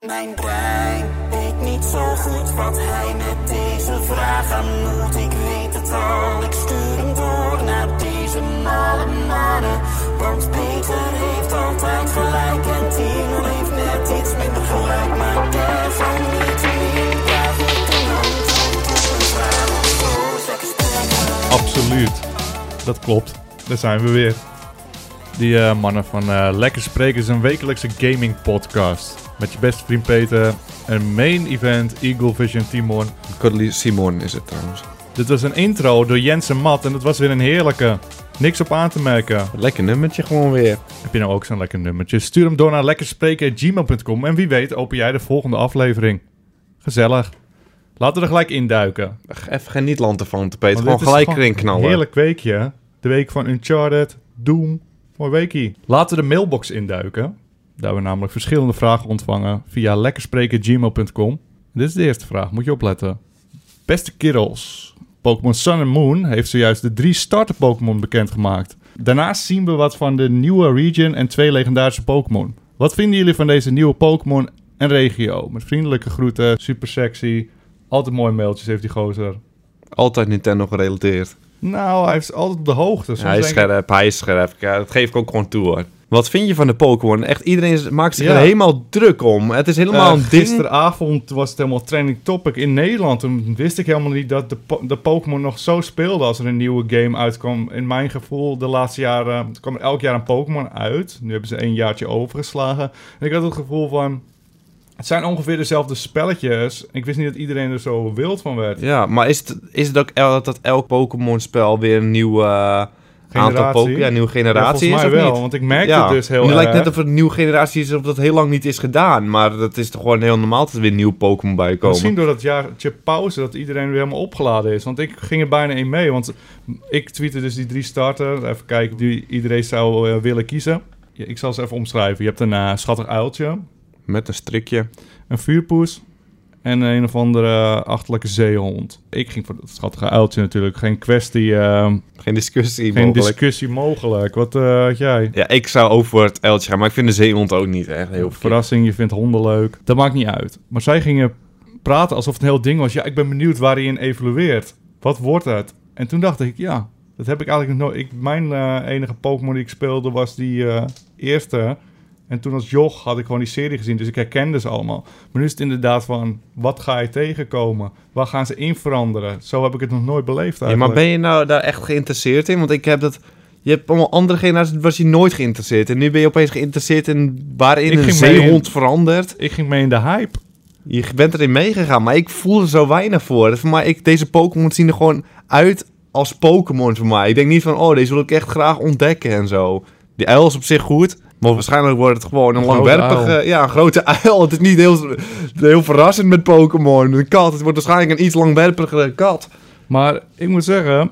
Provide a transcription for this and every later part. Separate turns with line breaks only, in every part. Mijn brein weet niet zo goed wat hij met deze vraag aan moet. Ik weet het al, ik stuur hem door naar deze malle mannen. Want Peter heeft altijd gelijk en Tino heeft net iets minder gelijk. Maar desalniettemin krijg ik een antwoord op een vraag of zo. Zeg eens, Peter.
Absoluut. Dat klopt. Daar zijn we weer. Die eh, mannen van eh, Lekker Spreken is een wekelijkse gaming podcast. Met je beste vriend Peter. Een main event, Eagle Vision Timon.
Cordelie Simon is het trouwens.
Dit was een intro door Jens en Matt en dat was weer een heerlijke. Niks op aan te merken.
Lekker nummertje gewoon weer.
Heb je nou ook zo'n lekker nummertje? Stuur hem door naar lekkerspreken.gmail.com en wie weet open jij de volgende aflevering. Gezellig. Laten we er gelijk induiken.
Ach, Even geen niet-lanterfant te
Want
Peter. Gewoon
dit is
gelijk
gewoon
erin knallen.
Een heerlijk weekje. hè? De week van Uncharted, Doom. Mooi weekie. Laten we de mailbox induiken. Daar we namelijk verschillende vragen ontvangen via lekkerspreken.gmail.com. Dit is de eerste vraag, moet je opletten. Beste kerels, Pokémon Sun en Moon heeft zojuist de drie starter Pokémon bekendgemaakt. Daarnaast zien we wat van de nieuwe region en twee legendarische Pokémon. Wat vinden jullie van deze nieuwe Pokémon en regio? Met vriendelijke groeten, super sexy. Altijd mooie mailtjes heeft die gozer.
Altijd Nintendo gerelateerd.
Nou, hij is altijd op de hoogte. Soms
Ja, hij is
denk ik-
scherp, hij is scherp. Ja, dat geef ik ook gewoon toe hoor. Wat vind je van de Pokémon? Echt, iedereen is- maakt zich
Ja.
er helemaal druk om. Het is helemaal
Eh,
een ding.
gisteravond was het helemaal trending topic in Nederland. Toen wist ik helemaal niet dat de, po- de Pokémon nog zo speelde als er een nieuwe game uitkwam. In mijn gevoel, de laatste jaren eh, kwam er elk jaar een Pokémon uit. Nu hebben ze een jaartje overgeslagen. En ik had het gevoel van, het zijn ongeveer dezelfde spelletjes. Ik wist niet dat iedereen er zo wild van werd.
Ja, maar is het, is het ook el- dat elk Pokémon-spel weer een nieuw eh, aantal
Generatie?
Pokémon... Ja, nieuwe
Ja,
generatie
volgens
is,
mij
of
wel,
niet?
want ik merkte
ja,
het dus heel
nu
erg.
lijkt net of het een nieuwe generatie is of dat heel lang niet is gedaan. Maar dat is toch gewoon heel normaal dat er weer nieuwe Pokémon bij komen.
Misschien door dat jaartje pauze dat iedereen weer helemaal opgeladen is. Want ik ging er bijna in mee. Want ik tweette dus die drie starter. Even kijken die iedereen zou eh, willen kiezen. Ja, ik zal ze even omschrijven. Je hebt een eh, schattig uiltje,
Met een strikje.
een vuurpoes en een of andere achterlijke zeehond. Ik ging voor dat schattige uiltje natuurlijk. Geen kwestie, eh,
Geen discussie
geen
mogelijk.
discussie mogelijk. Wat eh, had jij?
Ja, ik zou over voor het uiltje gaan, maar ik vind de zeehond ook niet echt heel verkeerd.
Verrassing, je vindt honden leuk. Dat maakt niet uit. Maar zij gingen praten alsof het een heel ding was. Ja, ik ben benieuwd waar hij in evolueert. Wat wordt het? En toen dacht ik, ja, dat heb ik eigenlijk nog nooit. Ik, mijn eh, enige Pokémon die ik speelde was die eh, eerste. En toen als joch had ik gewoon die serie gezien, dus ik herkende ze allemaal. Maar nu is het inderdaad van, wat ga je tegenkomen? Waar gaan ze in veranderen? Zo heb ik het nog nooit beleefd
Ja, maar
eigenlijk.
ben je nou daar echt geïnteresseerd in? Want ik heb dat... Je hebt allemaal andere generaties, was je nooit geïnteresseerd. En nu ben je opeens geïnteresseerd in waarin
Ik
een
ging mee in-
zeehond verandert.
Ik ging mee in de hype.
Je bent erin meegegaan, maar ik voel er zo weinig voor. Dat Voor mij, ik, deze Pokémon zien er gewoon uit als Pokémon voor mij. Ik denk niet van, oh, deze wil ik echt graag ontdekken en zo. Die uil is op zich goed, maar waarschijnlijk wordt het gewoon een,
Een grote
langwerpige... Ja, een grote uil. Het is niet heel, heel verrassend met Pokémon. Een kat, het wordt waarschijnlijk een iets langwerpigere kat.
Maar ik moet zeggen,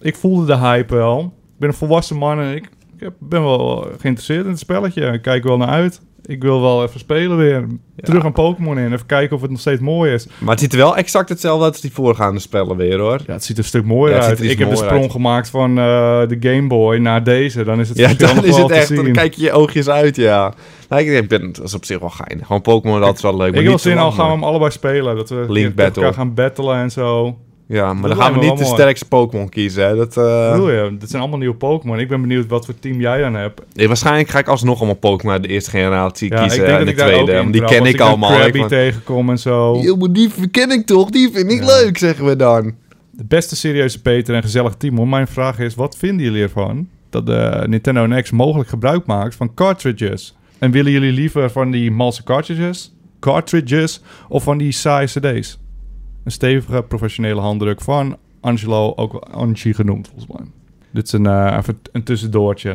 ik voelde de hype wel. Ik ben een volwassen man en ik, ik heb- ben wel geïnteresseerd in het spelletje. Ik kijk wel naar uit. Ik wil wel even spelen weer. Terug aan Pokémon in. Even kijken of het nog steeds mooi is.
Maar het ziet er wel exact hetzelfde uit als die voorgaande spellen weer, hoor.
Ja, het ziet er een stuk mooier
Ja, het ziet
uit.
er iets
Ik heb de
mooier
sprong gemaakt van eh, de Game Boy naar deze. Dan is het
Ja,
verschil
dan
nog
is
wel
het
te
echt, dan
zien.
kijk je je oogjes uit, ja. Nou, ik, ik ben, dat is op zich wel gein. Gewoon Pokémon, dat is wel leuk. maar
ik wil
niet te
zin al
lang,
gaan we
man.
hem allebei spelen. Dat we tegen
battle.
elkaar gaan battelen en zo.
Ja, maar
Dat
dan gaan
lijkt
we
me
niet de
wel mooi.
sterkste Pokémon kiezen. Hè. Dat, eh,
Bedoel je? Dit zijn allemaal nieuwe Pokémon. Ik ben benieuwd wat voor team jij dan hebt.
nee, waarschijnlijk ga ik alsnog allemaal Pokémon uit de eerste generatie
Ja,
kiezen.
ik denk
en
dat
de
ik daar ook
tweede.
in
want die
trap,
ken
als
ik
een
allemaal.
Krabby
Ik van-
tegenkom en zo.
Yo, maar die ken ik toch? Die vind ik
Ja.
leuk, zeggen we dan.
De beste serieuze Peter en gezellig Timon, mijn vraag is: wat vinden jullie ervan dat de Nintendo NX mogelijk gebruik maakt van cartridges? En willen jullie liever van die malse cartridges, cartridges of van die saaie CD's? Een stevige professionele handdruk van Angelo, ook wel Angie genoemd volgens mij. Dit is een, eh, even een tussendoortje.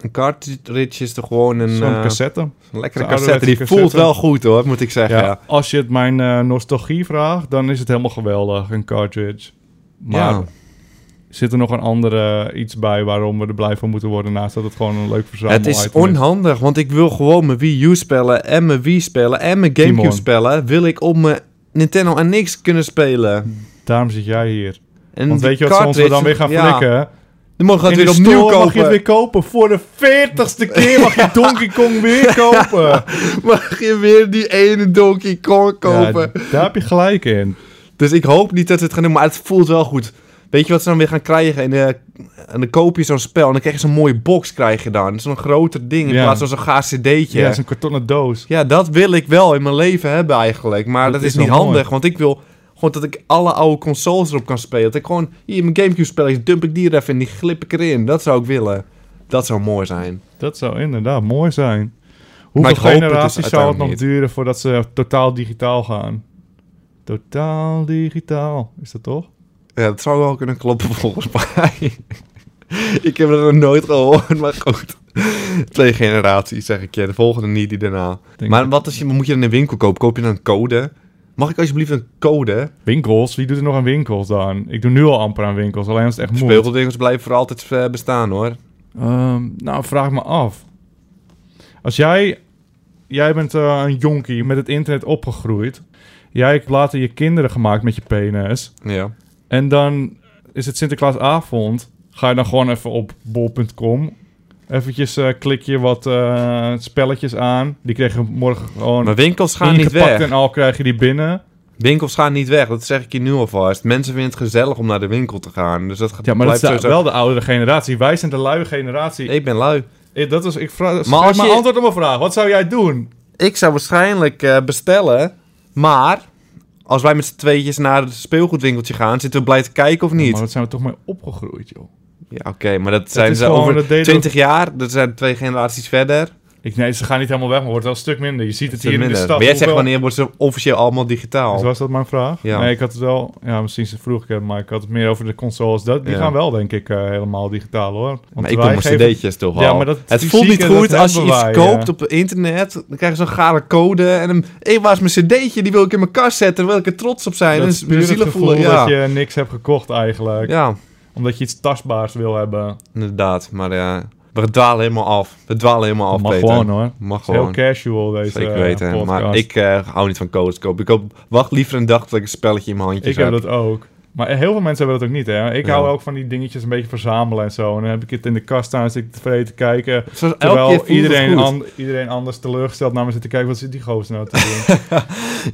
Een cartridge is toch gewoon een,
Zo'n
eh,
cassette.
een lekkere
Zo'n ouderwetse
cassette. Die voelt
cassette.
wel goed hoor, moet ik zeggen.
Ja,
Ja.
Als je het mijn eh, nostalgie vraagt, dan is het helemaal geweldig, een cartridge. Maar
Ja.
Zit er nog een andere eh, iets bij waarom we er blij van moeten worden? Naast dat het gewoon een leuk verzamel
Het is onhandig, want ik wil gewoon mijn Wii U spellen en mijn Wii spellen en mijn Gamecube
Timon.
spellen. Wil ik op mijn Nintendo NX kunnen spelen.
Daarom zit jij hier.
En
Want
die
weet je wat ze ons er dan weer gaan
cartridge- ja.
flikken?
Dan mogen we
In
het
de
weer opnieuw
store mag je het
kopen.
weer kopen. Voor de veertigste keer mag je Donkey Kong weer kopen.
Mag je weer die ene Donkey Kong kopen.
Ja, daar heb je gelijk in.
Dus ik hoop niet dat ze het gaan doen, maar het voelt wel goed. Weet je wat ze dan weer gaan krijgen? En, eh, en dan koop je zo'n spel en dan krijg je zo'n mooie box krijg je dan. Zo'n groter ding in
Ja.
plaats van zo'n gaar cd'tje.
Ja, zo'n kartonnen doos.
Ja, dat wil ik wel in mijn leven hebben eigenlijk. Maar dat,
Dat
is,
is
niet
wel mooi.
handig, want ik wil gewoon dat ik alle oude consoles erop kan spelen. Dat ik gewoon hier mijn Gamecube-spelletjes dump ik die er even in, die glip ik erin. Dat zou ik willen. Dat zou mooi zijn.
Dat zou inderdaad mooi zijn. Hoeveel
ik hoop het dus
generaties zou het nog
uiteindelijk
duren voordat ze totaal digitaal gaan? Totaal digitaal, is dat toch?
Ja, dat zou wel kunnen kloppen volgens mij. ik heb dat nog nooit gehoord, maar goed. Twee generaties, zeg ik je. De volgende niet, die daarna.
Denk
maar
ik.
wat als je, moet je dan in de winkel kopen? Koop je dan een code? Mag ik alsjeblieft een code?
Winkels? Wie doet er nog aan winkels dan? Ik doe nu al amper aan winkels, alleen als het echt moet.
Speelgoedwinkels blijven voor altijd eh, bestaan, hoor.
Ehm, nou, vraag me af. Als jij... Jij bent eh, een jonkie met het internet opgegroeid. Jij hebt later je kinderen gemaakt met je penis.
Ja.
En dan is het Sinterklaasavond. Ga je dan gewoon even op bol.com. Eventjes eh, klik je wat eh, spelletjes aan. Die krijg je morgen gewoon
Maar winkels gaan niet
ingepakt
weg.
en al krijg je die binnen.
Winkels gaan niet weg, dat zeg ik je nu alvast. Mensen vinden het gezellig om naar de winkel te gaan. Dus dat gaat
Ja, maar dat
blijft
is de-
sowieso-
wel de oudere generatie. Wij zijn de luie generatie.
Ik ben lui.
Ik- dat is, ik vraag,
Maar
maar
als
maar
je-
antwoord op mijn vraag. Wat zou jij doen?
Ik zou waarschijnlijk eh, bestellen, maar als wij met z'n tweetjes naar het speelgoedwinkeltje gaan, zitten we blij te kijken of niet? Ja,
Maar dat zijn we toch mee opgegroeid, joh.
oké, maar dat zijn
is
ze
gewoon-
over
dat deden we-
20 jaar, dat zijn twee generaties verder.
Ik, nee, ze gaan niet helemaal weg, maar wordt wel een stuk minder. Je ziet het hier
Dat minder.
in de stad.
maar jij zegt
hoeveel-
wanneer wordt ze officieel allemaal digitaal?
Dus was dat mijn vraag?
Ja.
Nee, ik had het wel... Ja, misschien ze vroeg ik het, maar ik had het meer over de consoles. Dat, die
Ja.
gaan wel, denk ik, eh, helemaal digitaal, hoor. Want
Maar ik doe
wij
mijn
geven-
cd'tjes toch wel.
Ja, maar dat
het voelt niet
fysieke, dat
goed als je iets
hebben wij,
koopt
ja.
op internet. Dan krijg je zo'n gare code. En dan, hé, waar is mijn cd'tje? Die wil ik in mijn kast zetten. Daar wil ik er trots op zijn.
Dat
en
is
me
puur het
zielig
gevoel
voelen. Ja.
dat je niks hebt gekocht, eigenlijk.
ja,
Omdat je iets tastbaars wil hebben.
inderdaad. Maar ja, we dwalen helemaal af. We dwalen helemaal af,
mag
Peter.
gewoon, hoor.
Mag
Het is heel
gewoon.
casual, deze
Zeker
eh,
weten.
podcast.
maar ik eh, hou niet van codes kopen. Ik koop, wacht liever een dag dat ik een spelletje in mijn handjes
Ik heb dat ook. Maar heel veel mensen hebben dat ook niet, hè. Ik
Ja.
hou ook van die dingetjes een beetje verzamelen en zo. En dan heb ik het in de kast staan, zit ik tevreden te kijken.
Zoals elke keer
Terwijl
voelt iedereen
iedereen,
het goed.
an- iedereen anders teleurgesteld naar me zit te kijken. Wat zit die gozer nou te doen?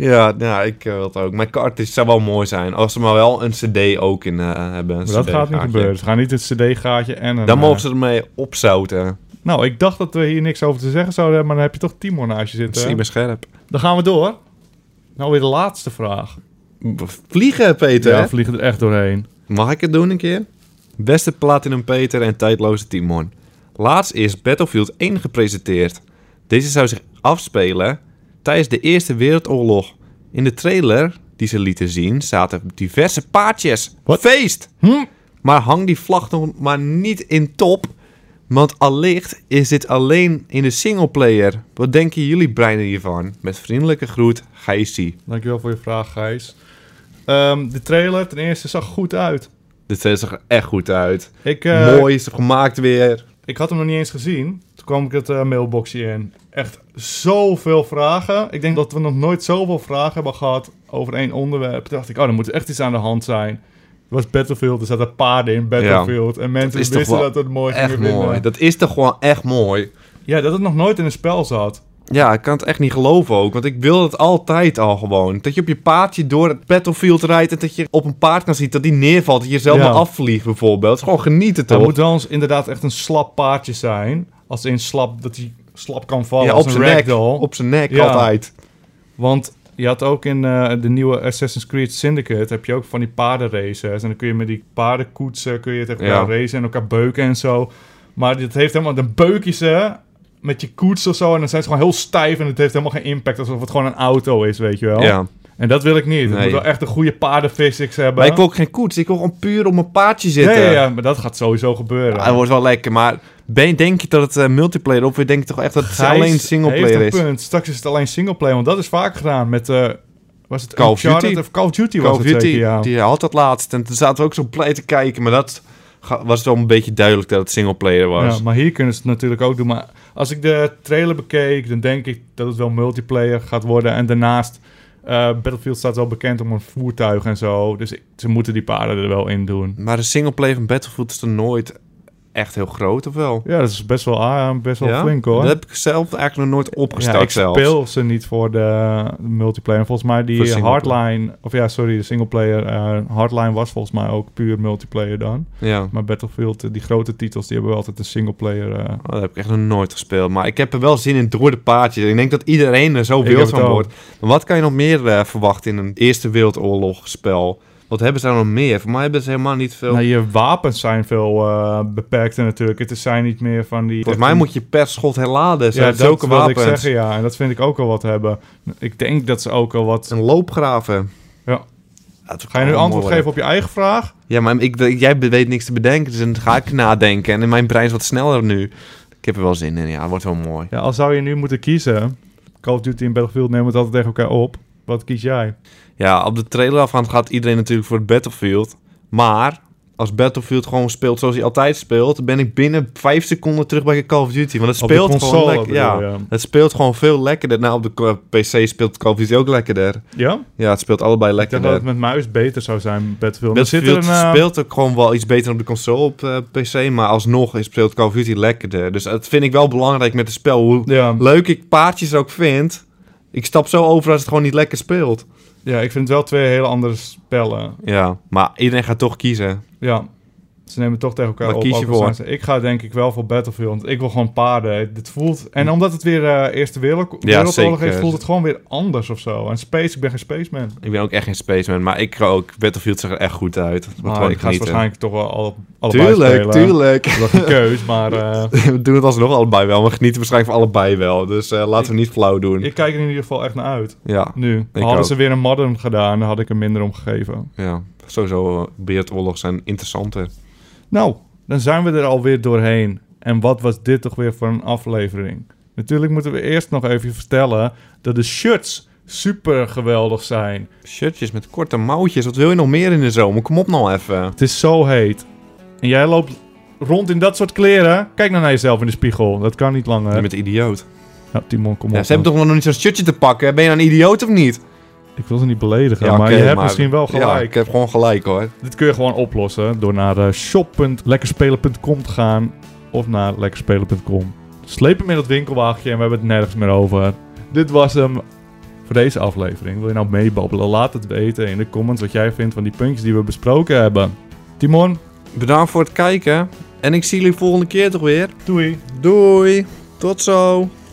Ja, ja, ik eh, wil het ook. Mijn cartridge zou wel mooi zijn. Als ze maar wel een cd ook in eh, hebben. een
maar dat gaat niet
CD-gaatje.
gebeuren. Ze gaan niet het cd-gaatje en een...
Dan
eh,
mogen ze ermee opzouten.
Nou, ik dacht dat we hier niks over te zeggen zouden hebben. Maar dan heb je toch Timon naast je
Dat is
zitten.
niet meer scherp.
Dan gaan we door. Nou, weer de laatste vraag.
Vliegen, Peter.
Ja, we vliegen er echt doorheen.
Mag ik het doen een keer? Beste Platinum Peter en tijdloze Timon. Laatst is Battlefield 1 gepresenteerd. Deze zou zich afspelen tijdens de Eerste Wereldoorlog. In de trailer die ze lieten zien zaten diverse paardjes.
Wat?
Feest!
Hm?
Maar hang die vlag nog maar niet in top. Want allicht is dit alleen in de singleplayer. Wat denken jullie breinen hiervan? Met vriendelijke groet, Gijsie.
Dankjewel voor je vraag, Gijs. Ehm, de trailer ten eerste zag goed uit.
Dit trailer zag er echt goed uit.
Ik, eh,
Mooi is het gemaakt weer.
Ik had hem nog niet eens gezien. Toen kwam ik het eh, mailboxje in. Echt zoveel vragen. Ik denk dat we nog nooit zoveel vragen hebben gehad over één onderwerp. Toen dacht ik, oh, er moet echt iets aan de hand zijn. Het was Battlefield, er zaten paarden in Battlefield. En mensen
is toch
wisten
wel
dat het mooi ging
Echt mooi.
winnen.
Dat is toch gewoon echt mooi.
Ja, dat het nog nooit in een spel zat.
Ja, ik kan het echt niet geloven ook. Want ik wil het altijd al gewoon. Dat je op je paardje door het battlefield rijdt. En dat je op een paard kan zien dat die neervalt. Dat je zelf
Ja.
maar afvliegt bijvoorbeeld. Gewoon genieten
Het
toch?
moet wel eens inderdaad echt een slap paardje zijn. Als in slap, dat hij slap kan vallen
ja,
als
op
een
zijn nek.
ragdoll.
Op zijn nek
Ja.
altijd.
Want je had ook in eh, de nieuwe Assassin's Creed Syndicate... heb je ook van die paardenraces. En dan kun je met die paardenkoetsen kun je tegen
Ja.
elkaar racen en elkaar beuken en zo. Maar dit heeft helemaal... Dan beuk je ze met je koets of zo... en dan zijn ze gewoon heel stijf en het heeft helemaal geen impact... alsof het gewoon een auto is, weet je wel.
Ja.
En dat wil ik niet. Het
Nee.
moet wel echt een goede paardenphysics hebben.
Maar ik wil ook geen koets. Ik wil gewoon puur op mijn paardje
ja,
zitten.
ja, ja, maar dat gaat sowieso gebeuren.
Ja, het wordt wel lekker. Maar ben, denk je dat het eh, multiplayer of denk je toch echt dat het
Gijs
alleen singleplayer
heeft
is?
een punt. Straks is het alleen singleplayer, want dat is vaak gedaan met... eh, was het
Call of
Uncharted
Duty.
Of Call of Duty
Call
was
of
het
Duty,
zeker, ja.
die had dat laatst. En toen zaten we ook zo blij te kijken. Maar dat ga- was wel een beetje duidelijk dat het singleplayer was.
Ja, maar hier kunnen ze het natuurlijk ook doen. Maar als ik de trailer bekeek, dan denk ik dat het wel multiplayer gaat worden. En daarnaast, eh, Battlefield staat wel bekend om een voertuig en zo. Dus ik- ze moeten die paarden er wel in doen.
Maar de singleplayer van Battlefield is er nooit echt heel groot, of wel?
Ja, dat is best wel, ah, best wel
Ja?
flink hoor.
Dat heb ik zelf eigenlijk nog nooit opgestart
ja, ik
zelfs.
speel ze niet voor de multiplayer. Volgens mij
Voor
die
singleplayer.
hardline, of ja, sorry, de singleplayer. eh hardline was volgens mij ook puur multiplayer dan.
Ja.
Maar Battlefield, eh, die grote titels, die hebben wel altijd een singleplayer. eh
Oh, dat heb ik echt nog nooit gespeeld. Maar ik heb er wel zin in door de paardjes. Ik denk dat iedereen er zo
Ik
wild
heb het
van
ook.
wordt. Maar wat kan je nog meer eh, verwachten in een Eerste Wereldoorlogspel? Wat hebben ze daar nog meer? Voor mij hebben ze helemaal niet veel.
nou, je wapens zijn veel eh, beperkter natuurlijk. Het is- zijn niet meer van die...
Volgens mij moet je per schot herladen. Ze
ja,
hebben
dat
zulke
wilde
wapens.
ik zeggen, ja. En dat vind ik ook al wat hebben. Ik denk dat ze ook al wat...
Een loopgraven.
Ja.
Dat
Ga je nu antwoord
kan mooi worden.
geven op je eigen vraag?
Ja, maar ik, ik- jij weet niks te bedenken, dus dan ga ik nadenken. En mijn brein is wat sneller nu. Ik heb er wel zin in, ja. Het wordt wel mooi.
Ja, al zou je nu moeten kiezen... Call of Duty en Battlefield nemen het altijd tegen elkaar op. Wat kies jij?
Ja, op de trailer afgaand gaat iedereen natuurlijk voor het Battlefield. Maar als Battlefield gewoon speelt zoals hij altijd speelt, dan ben ik binnen vijf seconden terug bij Call of Duty. Want het
Op de
speelt gewoon
console
lekker.
bedoel
Ja,
je.
het speelt gewoon veel lekkerder. Nou, op de co- PC speelt Call of Duty ook lekkerder.
Ja? Ik
Ja, het speelt allebei
denk dat
lekkerder.
het met muis beter zou zijn, Battlefield. Er zit er
Battlefield
een, eh,
speelt ook gewoon wel iets beter op de console op eh, PC, maar alsnog is- speelt Call of Duty lekkerder. Dus dat vind ik wel belangrijk met het spel. Hoe
Ja,
leuk ik paardjes ook vind, ik stap zo over als het gewoon niet lekker speelt.
ja, ik vind het wel twee hele andere spellen.
Ja, maar iedereen gaat toch kiezen.
Ja. Ze nemen toch tegen elkaar
Waar
op.
kies je
ook al
voor?
zijn ze- Ik ga denk ik wel voor Battlefield. Want ik wil gewoon paarden. Dit voelt... En omdat het weer eh, Eerste Wereldo- Wereldoorlog
Hm. zeker.
is, voelt het gewoon weer anders of zo. En Space, ik ben geen spaceman.
Ik ben ook echt geen spaceman, maar ik ook. Battlefield zag er echt goed uit. Dat wordt
Maar
gewoon
Ah, ik ga het
genieten.
waarschijnlijk toch wel alle, allebei
Tuurlijk,
spelen.
tuurlijk.
Dat is geen keus, maar eh,
We doen het alsnog allebei wel. We genieten waarschijnlijk van allebei wel. Dus eh, laten we niet flauw doen.
ik kijk er in ieder geval echt naar uit.
ja,
Nu. Hadden
ook.
ze weer een modern gedaan, dan had ik er minder om gegeven.
ja, sowieso. eh, Wereldoorlog zijn interessanter.
Nou, dan zijn we er alweer doorheen. En wat was dit toch weer voor een aflevering? Natuurlijk moeten we eerst nog even vertellen dat de shirts super geweldig zijn.
Shirtjes met korte mouwtjes. Wat wil je nog meer in de zomer? Kom op nou even.
Het is zo heet. En jij loopt rond in dat soort kleren. Kijk nou naar jezelf in de spiegel. Dat kan niet
Je
langer.
bent een idioot.
Nou, Timon, kom op.
Ja, ze hebben toch nog niet zo'n shirtje te pakken? Ben je nou een idioot of niet?
Ik wil ze niet beledigen, maar
oké,
je hebt misschien wel
Ja,
gelijk.
ik heb gewoon gelijk hoor.
Dit kun je gewoon oplossen door naar eh, shop.lekkerspelen.com te gaan of naar lekkerspelen.com. Sleep hem in dat winkelwagentje en we hebben het nergens meer over. Dit was hem voor deze aflevering. Wil je nou meebabbelen? Laat het weten in de comments wat jij vindt van die puntjes die we besproken hebben. Timon,
Bedankt voor het kijken. En ik zie jullie volgende keer toch weer.
doei!
Doei. Tot zo.